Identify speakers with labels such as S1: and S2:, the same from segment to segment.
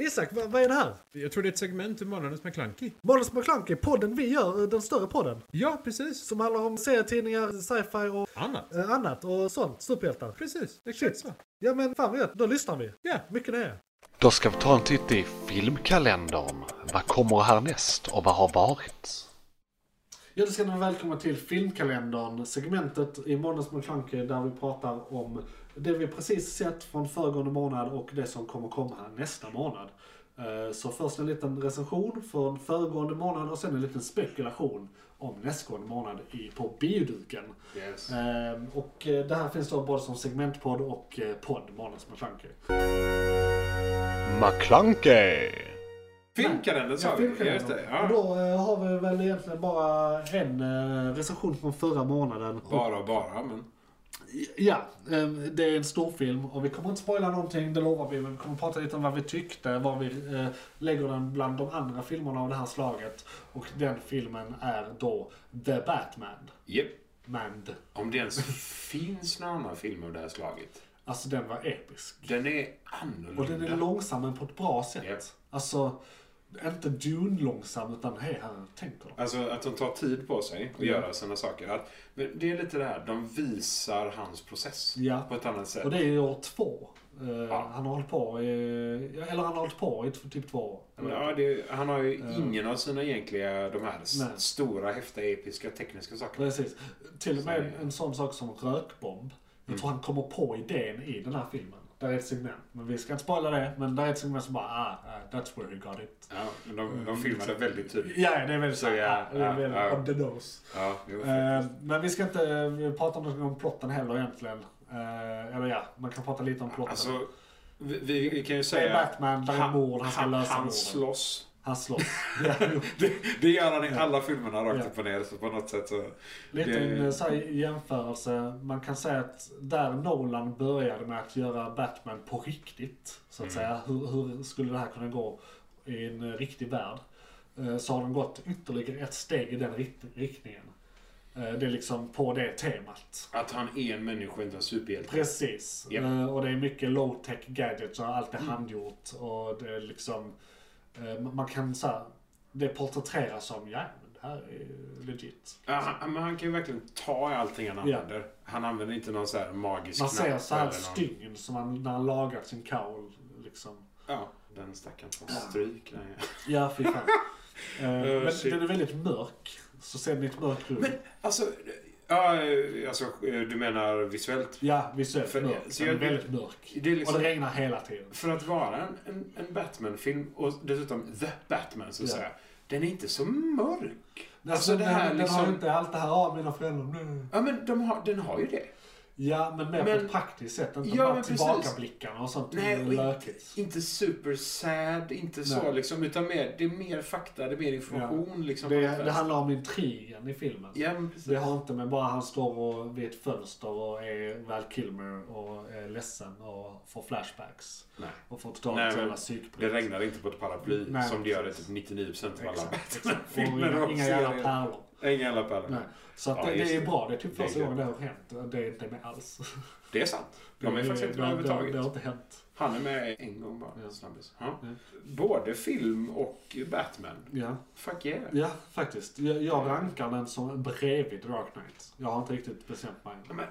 S1: Isak, vad, vad är det här?
S2: Jag tror det är ett segment ur Månadens McKlunky.
S1: Månadens McKlunky, podden vi gör, eh, den större podden.
S2: Ja, precis.
S1: Som handlar om serietidningar, sci-fi och
S2: Annat.
S1: eh, annat och sånt. Superhjältar.
S2: Precis, exakt så.
S1: Ja men fan vad gött, då lyssnar vi.
S2: Ja.
S1: Mycket nöje.
S3: Då ska vi ta en titt i filmkalendern. Vad kommer härnäst och vad har varit?
S1: Ja, då ska ni vara välkomna till filmkalendern, segmentet i Månadens McKlunky där vi pratar om det vi precis sett från föregående månad och det som kommer komma här nästa månad. Eh, Så först en liten recension från föregående månad och sen en liten spekulation om nästgående månad i, på bioduken.
S2: Yes.
S1: Eh, Och eh, det här finns då både som segmentpodd och eh, podd, Månadens McKlunky.
S3: McClunkey!
S2: Filmkalendern
S1: Alltså,
S2: sa vi.
S1: filmkalendern.
S2: Just det. Ja.
S1: Och Då eh, har vi väl egentligen bara en eh, recension från förra månaden.
S2: Bara och bara, men.
S1: Ja, eh, det är en stor film och vi kommer inte spoila någonting, det lovar vi. Men vi kommer prata lite om vad vi tyckte, var vi eh, lägger den bland de andra filmerna av det här slaget. Och den filmen är då The Batman.
S2: Japp.
S1: Mand.
S2: Om det ens finns några andra filmer av det här slaget.
S1: Alltså den var episk.
S2: Den är annorlunda.
S1: Och den är långsam men på ett bra sätt.
S2: Ja.
S1: Alltså, inte Dune-långsam utan hej här, tänker de.
S2: Alltså att de tar tid på sig att göra sina saker. Att, men det är lite det här, de visar hans process
S1: Ja.
S2: på ett annat sätt.
S1: Och det är ju år två. Eh, Han har hållit på i, eller han har hållit på i t- typ två år. Eller?
S2: Ja, det, är- han har ju ingen av sina egentliga, de här s-
S1: Nej.
S2: stora, häftiga, episka, tekniska sakerna.
S1: Precis. Till och med en sån sak som rökbomb.
S2: Mm.
S1: Jag tror han kommer på idén i den här filmen. Där är ett segment. Men vi ska inte spoila det. Men där är ett segment som bara ah, ah, that's where he got it.
S2: Ja, men de,
S1: Mm.
S2: de filmar det väldigt tydligt.
S1: Ja, det är väldigt
S2: Så,
S1: så.
S2: ja,
S1: Ja, det är
S2: ja,
S1: väldigt
S2: ja.
S1: on the nose.
S2: Ja, jo,
S1: Eh, men vi ska inte eh, prata om, om plotten heller egentligen. Eh, eller ja, man kan prata lite om plotten.
S2: alltså, vi, vi, vi kan ju
S1: det är
S2: säga...
S1: Batman, där är mord, han ska
S2: han,
S1: lösa
S2: han
S1: morden.
S2: slåss.
S1: Han slåss. Ja, jo.
S2: Det, det gör han i alla filmerna rakt
S1: Ja.
S2: upp och ner. Så på något sätt så...
S1: Lite
S2: det-
S1: en eh, så här, jämförelse. Man kan säga att där Nolan började med att göra Batman på riktigt, så
S2: Mm.
S1: att säga. Hur, hur skulle det här kunna gå i en eh, riktig värld? Eh, Så har de gått ytterligare ett steg i den rikt- riktningen. Eh, Det är liksom på det temat.
S2: Att han är en människa, inte en superhjälte.
S1: Precis.
S2: Japp. Mm.
S1: Eh, Och det är mycket low-tech gadgets och allt är handgjort. Och det är liksom, eh, man kan så här, det porträtteras som, ja men det här är legit.
S2: Ja, han, men han kan ju verkligen ta i allting han
S1: Ja.
S2: använder. Han använder inte någon så här magisk
S1: Man ser
S2: knapp
S1: så här
S2: eller någon-
S1: stygn som han, när han lagat sin kaul. Liksom.
S2: Ja, den stackaren får stryk. Nej.
S1: Ja, fy fan. Eh, men
S2: shit.
S1: den är väldigt mörk. Så ser den i ett mörkt rum.
S2: Men alltså, ja, eh, alltså, eh, du menar visuellt?
S1: Ja, visuellt
S2: För-
S1: mörk.
S2: så
S1: Den är
S2: jag-
S1: väldigt mörk.
S2: det är liksom- Alltså,
S1: Och det regnar hela tiden.
S2: För att vara en, en, en Batman-film och dessutom The Batman så att
S1: Ja.
S2: säga. Den är inte så mörk.
S1: Alltså, den, den har
S2: liksom-
S1: inte allt det här, av mina föräldrar nu.
S2: Ja men de har, den har ju det.
S1: Ja, men mer på
S2: Men-
S1: ett praktiskt sätt. Inte
S2: Ja,
S1: bara
S2: men precis.
S1: tillbakablickarna och sånt.
S2: Nej, och inte, liksom
S1: lökigt.
S2: inte super sad, inte så
S1: Nej.
S2: liksom. Utan mer, det är mer fakta, det är mer information liksom.
S1: Det, det handlar om intrigen i filmen.
S2: Ja, men precis.
S1: Det har inte med bara han står och vid ett fönster och är Val Kilmer och är ledsen och får flashbacks.
S2: Nej.
S1: Och får totalt
S2: Nej, men
S1: jävla psykbryt.
S2: Det regnar inte på ett paraply
S1: Nej,
S2: som det gör i typ 99% av alla
S1: Exakt, exakt. Och
S2: Batman-filmer
S1: inga,
S2: och
S1: inga jävla
S2: serier.
S1: pärlor.
S2: Inga jävla pärlor.
S1: Nej. Så att
S2: Ja,
S1: det, det
S2: just
S1: är
S2: det.
S1: bra. Det är typ
S2: Det är
S1: första
S2: gött.
S1: gången det har hänt. Det är inte med alls.
S2: Det är sant. De är
S1: Det-
S2: faktiskt inte
S1: det, det,
S2: med
S1: det, det har
S2: överhuvudtaget.
S1: inte hänt.
S2: Han är med en gång bara. Snabbis. Ja.
S1: Ja.
S2: Både film och Batman.
S1: Ja,
S2: Fuck yeah.
S1: ja faktiskt. Jag, jag rankar den som bredvid Dark Knight. Jag har inte riktigt bestämt mig.
S2: Men, eh,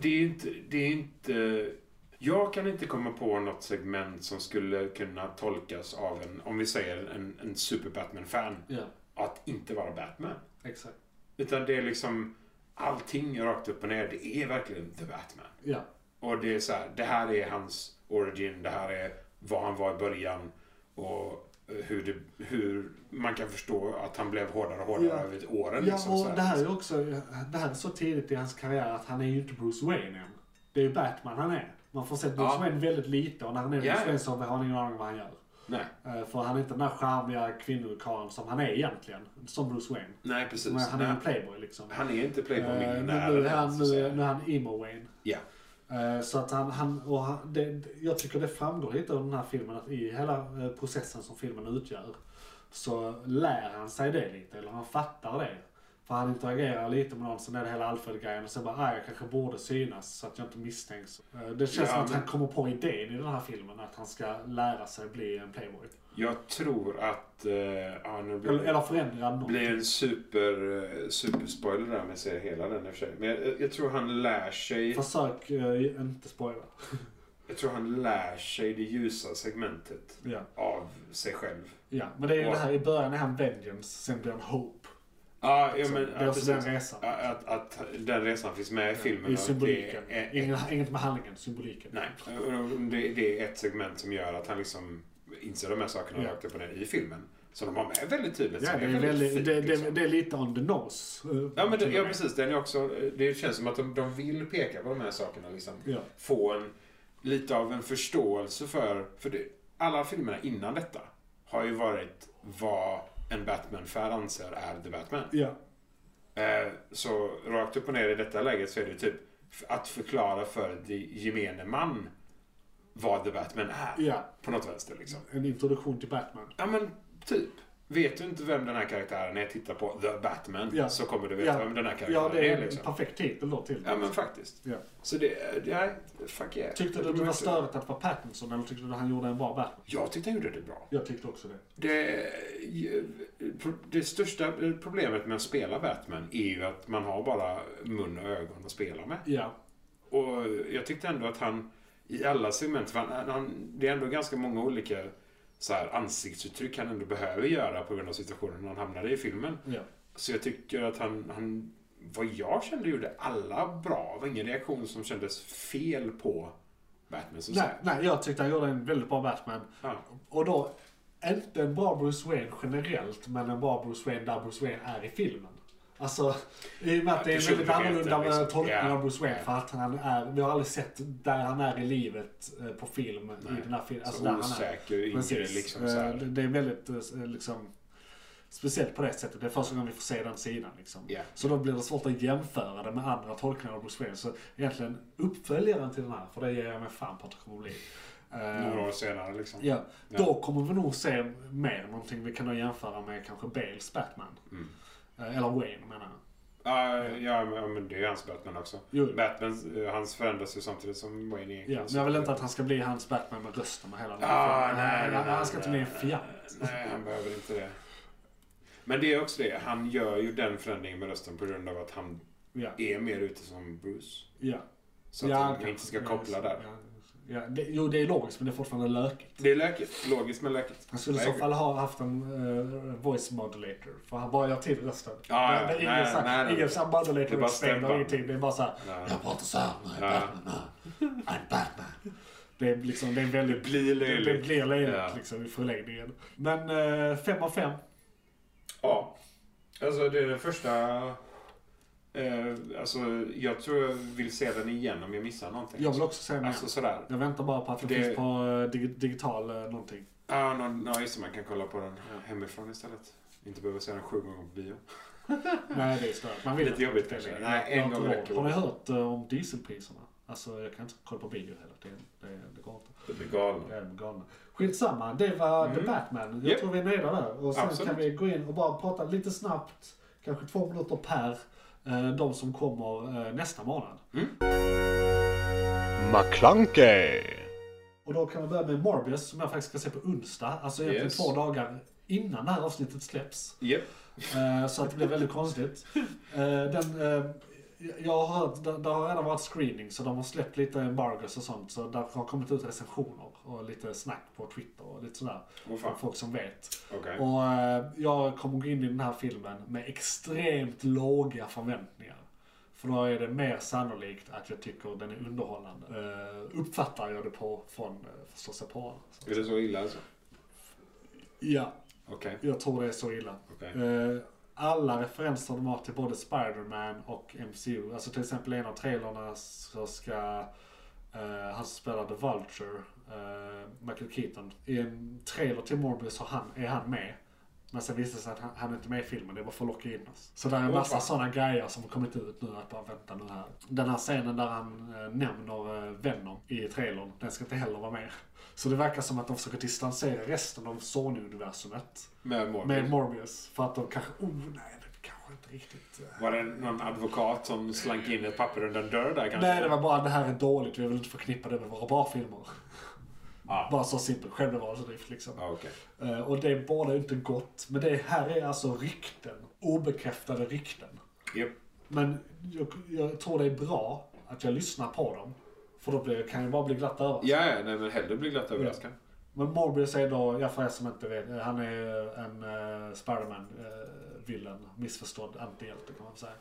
S2: det är ju inte, det är inte... Jag kan inte komma på något segment som skulle kunna tolkas av en, om vi säger en, en super-Batman-fan,
S1: Ja,
S2: att inte vara Batman.
S1: exakt.
S2: Utan det är liksom allting rakt upp och ner. Det är verkligen The Batman.
S1: Ja,
S2: Och det är så här, det här är hans origin, det här är vad han var i början och hur, det, hur man kan förstå att han blev hårdare och hårdare
S1: Ja.
S2: över åren.
S1: ja
S2: liksom, så
S1: och det här är ju också, det här är så tidigt i hans karriär att han är ju inte Bruce Wayne än. Det är ju Batman han är. Man får se Bruce
S2: Ja.
S1: Wayne väldigt lite och när han är Bruce
S2: Ja, ja.
S1: Wayne så har han ingen aning om vad han gör.
S2: Nej,
S1: Eh, För han är inte den där charmiga kvinnokarlen som han är egentligen. Som Bruce Wayne.
S2: nej precis.
S1: Men han är en
S2: nej.
S1: playboy liksom.
S2: Han är inte
S1: Eh, Men
S2: Playboy-miljonär.
S1: nu är han,
S2: så att
S1: nu
S2: säga.
S1: är, nu är han emo Wayne.
S2: Ja.
S1: Eh, Så att han, han, och han det, det- jag tycker det framgår lite av den här filmen att i hela eh, processen som filmen utgör så lär han sig det lite, eller han fattar det. För han interagerar lite med någon, sen är det hela Alfred-grejen och sen bara, ah, jag kanske borde synas så att jag inte misstänks. Eh, Det känns
S2: Ja,
S1: som att
S2: men-
S1: han kommer på idén i den här filmen, att han ska lära sig bli en playboy.
S2: Jag tror att... eh, ja, nu blir,
S1: Eller, eller förändra något.
S2: blir en super, eh, superspoiler där om jag säger hela den i och för sig. Men jag, jag tror han lär sig...
S1: Försök eh, inte spoila.
S2: Jag tror han lär sig det ljusa segmentet
S1: Ja.
S2: av sig själv.
S1: ja, men det är ju
S2: Ja.
S1: det här, i början är han vengeance, sen blir han hope.
S2: Ja, ja
S1: Så
S2: men...
S1: det är
S2: ja,
S1: alltså den
S2: precis.
S1: resan.
S2: Ja, Att, att den resan finns med i filmen.
S1: I
S2: och att det
S1: symboliken.
S2: är- är-
S1: Ingen, inget med handlingen, symboliken.
S2: Nej, och det, det är ett segment som gör att han liksom inser de här sakerna
S1: Ja.
S2: rakt upp och ner i filmen. Som de har med väldigt tydligt.
S1: Ja,
S2: som
S1: det, är väldigt,
S2: fint,
S1: det, det,
S2: liksom.
S1: det är lite on the nose. eh,
S2: Ja, men det,
S1: till
S2: ja,
S1: och med.
S2: precis. Den är också, det känns som att de, de vill peka på de här sakerna. Liksom.
S1: Ja.
S2: Få en, lite av en förståelse för... för det, alla filmerna innan detta har ju varit vad en Batman-fan anser är The Batman.
S1: Ja,
S2: Eh, Så rakt upp och ner i detta läget så är det typ f- att förklara för de gemene man vad The Batman är.
S1: ja,
S2: På något vänster liksom.
S1: en introduktion till Batman.
S2: Ja men typ. Vet du inte vem den här karaktären är, titta på The Batman.
S1: Ja.
S2: Så kommer du veta
S1: Ja.
S2: vem den här karaktären
S1: Ja, det är en
S2: liksom.
S1: perfekt titel då till.
S2: Ja men faktiskt.
S1: Ja.
S2: Så det, ja, fuck yeah.
S1: Tyckte du det var störigt att vara Pattinson eller tyckte du att han gjorde en bra Batman?
S2: Jag tyckte han gjorde det bra.
S1: Jag tyckte också det.
S2: Det, eh, det största problemet med att spela Batman är ju att man har bara mun och ögon att spela med.
S1: Ja,
S2: Och jag tyckte ändå att han i alla segment, för han, han, det är ändå ganska många olika så här, ansiktsuttryck han ändå behöver göra på grund av situationen han hamnade i filmen.
S1: ja.
S2: Så jag tycker att han, han vad jag kände gjorde alla bra. Det var ingen reaktion som kändes fel på Batman. Så
S1: Nej, nej, jag tyckte han gjorde en väldigt bra Batman.
S2: Ja.
S1: Och då, inte en bra Bruce Wayne generellt, men en bra Bruce Wayne där Bruce Wayne är i filmen. Alltså, i och med att det är en väldigt
S2: Personligheten,
S1: annorlunda
S2: liksom.
S1: liksom. tolkning
S2: Ja.
S1: av Bruce Wayne.
S2: Ja.
S1: För att han är, vi har aldrig sett där han är i livet eh, på film i den här filmen. Alltså
S2: så
S1: där han är.
S2: osäker, yngre
S1: Precis.
S2: liksom så
S1: Eh, det-
S2: här.
S1: Det är väldigt eh, liksom, speciellt på det sättet. Det är första gången vi får se den sidan. Liksom.
S2: Ja.
S1: Så då blir det svårt att jämföra det med andra tolkningar av Bruce Wayne. Så egentligen uppföljaren till den här, för det ger jag mig fan på att det kommer bli. Eh,
S2: Några år senare liksom.
S1: ja. Då kommer vi nog se mer någonting vi kan då jämföra med kanske Bales Batman.
S2: Mm.
S1: Eh, Eller Wayne menar jag.
S2: Ja, ja, men- ja, men det är ju hans Batman också.
S1: Jo.
S2: Batman, eh, hans förändras ju samtidigt som Wayne egentligen.
S1: Ja, men jag vill inte att han ska bli hans Batman med rösten och hela den
S2: Ah,
S1: filmen.
S2: nej, nej,
S1: han, han ska
S2: nej,
S1: inte bli en
S2: nej,
S1: fjant.
S2: Nej, han behöver inte det. Men det är också det, han gör ju den förändringen med rösten på grund av att han
S1: Ja,
S2: är mer ute som Bruce.
S1: ja.
S2: Så att
S1: ja,
S2: man
S1: kanske.
S2: inte ska
S1: Ja,
S2: koppla
S1: just-
S2: där.
S1: Ja, ja. Det, jo, det är logiskt, men det är fortfarande lökigt.
S2: Det är lökigt. Logiskt men lökigt.
S1: Han skulle i så
S2: Lägre.
S1: fall ha haft en eh, voice modulator, för han bara gör till rösten.
S2: Ah, Ja,
S1: Det-
S2: ja,
S1: det är ingen
S2: nej,
S1: så här-
S2: nej, nej.
S1: ingen så här modulator
S2: Det är bara
S1: explainer,
S2: stämband.
S1: ingenting. Det är bara såhär,
S2: Ja.
S1: jag pratar såhär, jag är
S2: Ja.
S1: Batman, ja. I'm Batman. Det är liksom, det är väldigt...
S2: Det blir
S1: det, det
S2: löjligt.
S1: blir löjligt
S2: Ja.
S1: liksom i förlängningen. Men eh, fem av fem.
S2: Ja. Alltså det är den första... Eh, alltså jag tror jag vill se den igen om jag missar någonting.
S1: Jag vill också säga den
S2: Alltså
S1: igen.
S2: sådär.
S1: Jag väntar bara på att den
S2: Det-
S1: finns på eh, dig, digital eh, någonting.
S2: Ja, ah, no, just det. Man kan kolla på den hemifrån istället. Inte behöva se den sju gånger på bio.
S1: Nej, det är stört. Man vill
S2: Lite
S1: inte
S2: jobbigt
S1: beställa
S2: kanske.
S1: det.
S2: Nej, en
S1: Jag har
S2: gång
S1: inte
S2: räcker.
S1: råd. Har ni hört eh, om dieselpriserna? Alltså, jag kan inte kolla på bio heller. Det, det, det går inte.
S2: Det blir galen.
S1: Jag är galna. Skitsamma, det var
S2: Mm.
S1: The Batman. Jag
S2: Japp.
S1: tror vi är nöjda där. Och sen
S2: Absolut.
S1: kan vi gå in och bara prata lite snabbt, kanske två minuter per, eh, de som kommer eh, nästa månad.
S3: McClunkey!
S1: Och då kan vi börja med Morbius som jag faktiskt ska se på onsdag. Alltså egentligen
S2: Yes.
S1: två dagar innan det här avsnittet släpps.
S2: Japp.
S1: Eh, så att det blir väldigt konstigt. Eh, den, eh, jag har hört, det, det har redan varit screening så de har släppt lite embargos och sånt. Så där har kommit ut recensioner och lite snack på Twitter och lite sådär.
S2: Åh, fan.
S1: Från folk som vet.
S2: Okej.
S1: Och eh, jag kommer gå in i den här filmen med extremt låga förväntningar. För då är det mer sannolikt att jag tycker den är underhållande. Eh, uppfattar jag det på från eh, förståsigpåarna. Så-
S2: Är det så illa alltså?
S1: Ja,
S2: Okej.
S1: jag tror det är så illa.
S2: Okej.
S1: Eh, alla referenser de har till både Spider-Man och MCU. Alltså till exempel i en av trailrarna så ska eh, han som spelar The Vulture, eh, Michael Keaton. I en trailer till Morbius har han, är han med. Men sen visade det sig att han, han är inte med i filmen, det var för att locka in oss. Så där är en massa
S2: Opa.
S1: sådana grejer som har kommit ut nu, att bara vänta nu här. Den här scenen där han eh, nämner eh, Venom i trailern, den ska inte heller vara med. Så det verkar som att de försöker distansera resten av Sony-universumet
S2: Med Morbius.
S1: med Morbius. För att de kanske, oh nej, kanske inte riktigt... eh,
S2: Var det någon advokat som slank in ett papper under en dörr där kanske?
S1: Nej, det var bara det här är dåligt. Vi vill inte förknippa det med våra bra filmer.
S2: Ah.
S1: Bara så simpel självbevarelsedrift liksom.
S2: Ah, okej.
S1: Eh, Och det bådar ju inte gott. Men det här är alltså rykten. Obekräftade rykten.
S2: Japp.
S1: Men jag, jag tror det är bra att jag lyssnar på dem. För då blir, kan jag bara bli glatt överraskad.
S2: Ja, ja, nej men hellre bli glatt överraskad.
S1: Men Morbius är då, jag för er som inte vet, eh, han är ju en eh, Spiderman-villain. missförstådd antihjälte kan man säga.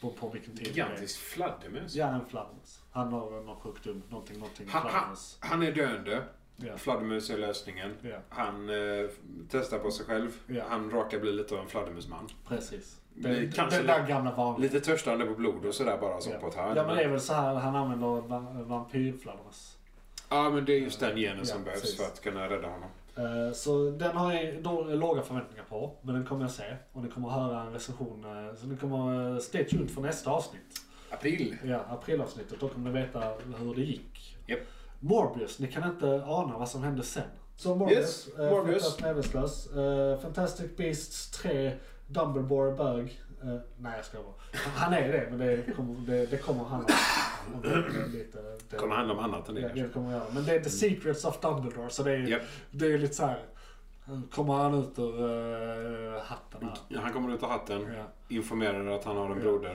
S1: På, på vilken tid det är.
S2: Gigantisk fladdermus.
S1: Ja, en fladdermus. Han har någon sjukdom, någonting, någonting.
S2: Han, han,
S1: fladdermus.
S2: han är döende.
S1: Ja.
S2: Fladdermus är lösningen.
S1: Ja.
S2: Han eh, testar på sig själv.
S1: Ja.
S2: Han råkar bli lite av en fladdermusman.
S1: Precis.
S2: Men
S1: Den,
S2: kanske
S1: den där gamla vanliga.
S2: Lite törstande på blod och sådär bara som
S1: ja.
S2: på ett hörn.
S1: Ja, men det är väl så här han använder va- vampyrfladdermus.
S2: Ja, men det är just den genen som
S1: Ja,
S2: behövs
S1: precis.
S2: för att kunna rädda honom.
S1: Eh, Så den har jag då låga förväntningar på, men den kommer jag se. Och ni kommer höra en recension. eh, Så ni kommer eh, stay tuned för nästa avsnitt.
S2: April.
S1: Ja, aprilavsnittet. Då kommer ni veta hur det gick.
S2: Japp.
S1: Morbius, ni kan inte ana vad som hände sen. Så Morbius,
S2: Yes,
S1: eh,
S2: Morbius.
S1: fruktansvärt medvetslös. Eh, Fantastic Beasts 3, Dumbledore är bög. Eh, nej jag skojar bara. Han är det, men det kommer, det, det kommer han om det är lite...
S2: Det kommer handla om annat än det
S1: Ja,
S2: kanske.
S1: det kommer jag göra. Men det är The Secrets of Dumbledore, så det är,
S2: Japp.
S1: det är lite så här. Kommer han ut ur eh, hatten här?
S2: Ja, Han kommer ut ur hatten,
S1: Ja.
S2: informerar att han har en
S1: Ja.
S2: broder.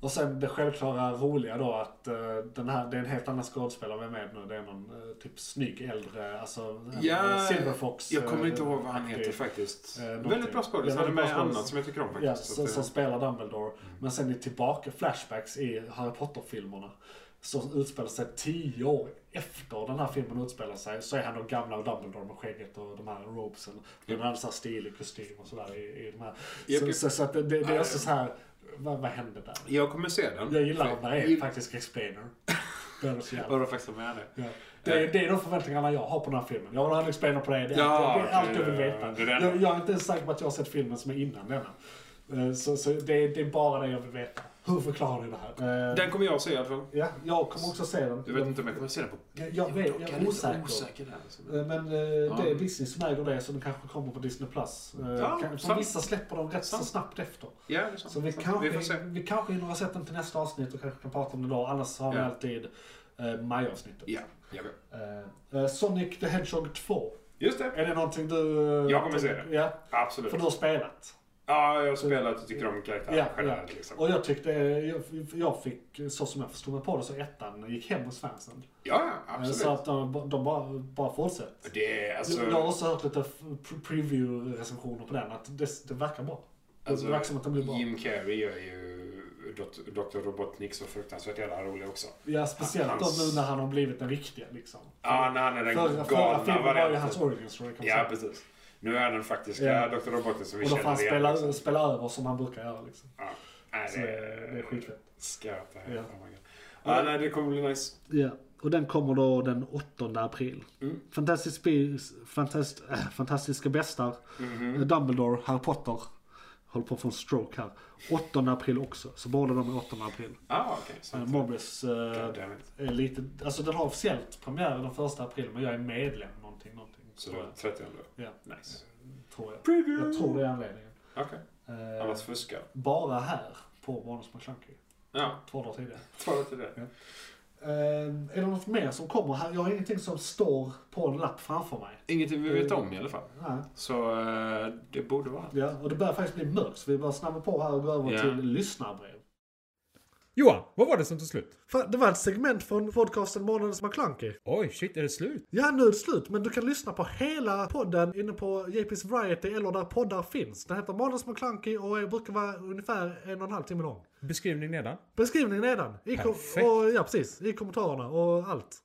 S1: Och sen det självklara roliga då att eh, den här, det är en helt annan skådespelare vi är med nu. Det är någon eh, typ snygg äldre, alltså en, eh, Silverfox.
S2: jag kommer inte
S1: eh,
S2: ihåg vad han
S1: aktiv.
S2: heter faktiskt.
S1: eh, någonting.
S2: väldigt bra skådis.
S1: Ja,
S2: Han är
S1: väldigt bra
S2: med i
S1: skådis.
S2: annat som jag tycker om faktiskt.
S1: Ja,
S2: Så
S1: som,
S2: att,
S1: som spelar Dumbledore. Men sen är tillbaka, flashbacks i Harry Potter-filmerna. Som utspelar sig tio år efter den här filmen utspelar sig. Så är han då gamla och Dumbledore med skägget och de här robesen. Den hade så här stilig kostym och sådär i, i de här.
S2: Japp,
S1: så,
S2: japp.
S1: Så, så att det, det, det är också så här, vad, vad hände där?
S2: jag kommer se den.
S1: Jag gillar när det är
S2: Gill-
S1: faktiskt explainer. Det är så jävla
S2: Vadå faktiskt med det?
S1: Ja. Det, är, det är de förväntningarna jag har på den här filmen. Jag vill ha en explainer på det. Det är,
S2: Ja,
S1: allt, det är allt
S2: okej,
S1: jag vill
S2: ja,
S1: veta.
S2: det är den.
S1: jag, jag är inte ens säker på att jag har sett filmen som är innan denna. Eh, Så, så det, är, det är bara det jag vill veta. Hur förklarar ni det här? Eh,
S2: Den kommer jag se i alla fall.
S1: Ja, jag kommer också se den.
S2: Du vet inte om jag kommer se den på...
S1: Jag, jag, vet, jag är osäker.
S2: där. alltså.
S1: Eh, Men eh, det
S2: Ja.
S1: är Disney som äger det så den kanske kommer på Disney+. Plus. Eh,
S2: Ja,
S1: kan- för
S2: sant.
S1: vissa släpper dem rätt så
S2: Sant.
S1: snabbt efter.
S2: Ja, det är sant.
S1: Så vi
S2: Sant.
S1: kanske,
S2: Vi får se.
S1: vi kanske hinner ha sett den till nästa avsnitt och kanske kan prata om det då. Annars har vi
S2: Ja.
S1: alltid eh, majavsnittet.
S2: Ja, jag vet.
S1: Eh, eh, Sonic the Hedgehog 2.
S2: Just det.
S1: Är det någonting du... eh,
S2: Jag kommer se det.
S1: Ja,
S2: Absolut.
S1: för du har spelat.
S2: Ja, jag har spelat och tycker om karaktären
S1: Ja, ja.
S2: generellt. Liksom.
S1: Och jag tyckte, eh, jag, jag fick, så som jag förstod mig på det, så ettan gick hem hos fansen.
S2: Ja, ja,
S1: Eh,
S2: absolut.
S1: Så att de, de bara, bara fortsätter.
S2: Det är alltså...
S1: jag har också hört lite f- pre- preview-recensioner på den, att det, det verkar bra. Det
S2: Alltså,
S1: verkar som att den blir bra.
S2: Jim Carrey gör ju Dot- Dr. Robotnik så fruktansvärt jävla rolig också.
S1: Ja, speciellt då
S2: hans-
S1: nu när han har blivit den riktiga liksom.
S2: Ja, när han är den
S1: Förra, förra
S2: galna
S1: filmen var ju hans
S2: varianten.
S1: origin story kan man
S2: Ja,
S1: säga.
S2: precis. Nu är den faktiska
S1: Ja.
S2: Dr. Robotnik som vi
S1: Och då får han
S2: känner igen.
S1: spela,
S2: liksom.
S1: spela över som han brukar göra liksom.
S2: Ja. Nej,
S1: Så
S2: det
S1: det, det är skitfett.
S2: Skarpt det här.
S1: Ja.
S2: Oh my God. Ja, nej, det kommer bli nice.
S1: Ja, och den kommer då den 8 april.
S2: Mm.
S1: Fantastisk Beasts, fantast, äh, Fantastiska Bästar,
S2: Mhm.
S1: eh, Dumbledore, Harry Potter. Håller på att få en stroke här. 8 april också, så båda de är 8 april.
S2: Ah, okej.
S1: Eh,
S2: sant.
S1: Morbius eh,
S2: God damn it.
S1: är lite, alltså den har officiellt premiär den 1 april men jag är medlem någonting, någonting.
S2: Så
S1: tror
S2: då,
S1: jag.
S2: 30
S1: Ja,
S2: Nice.
S1: tror jag.
S2: Preview!
S1: Jag tror det är anledningen.
S2: Okej.
S1: Eh,
S2: Annars fuskar.
S1: Bara här på Manus McClunky.
S2: Ja,
S1: Två dagar tidigare.
S2: ta till det.
S1: Eh, är det något mer som kommer här? Jag har ingenting som står på en lapp framför mig.
S2: Ingenting vi
S1: Eh,
S2: vet om i alla fall.
S1: Nej.
S2: Så eh, det borde vara allt.
S1: Ja, och det börjar faktiskt bli mörkt så vi börjar snabba på här och gå över
S2: Ja.
S1: till lyssnarbrev.
S4: Johan, vad var det som tog slut?
S1: Fan, Det var ett segment från podcasten Månadens McKlunky.
S4: Oj, shit, är det slut?
S1: Ja, nu är det slut, men du kan lyssna på hela podden inne på JP's Variety eller där poddar finns. Den heter Månadens McKlunky och är- brukar vara ungefär en och en halv timme lång.
S4: Beskrivning nedan.
S1: Beskrivningen nedan. I kom-
S4: Perfekt.
S1: och, ja, precis. I kommentarerna och allt.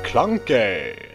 S3: McClunkey!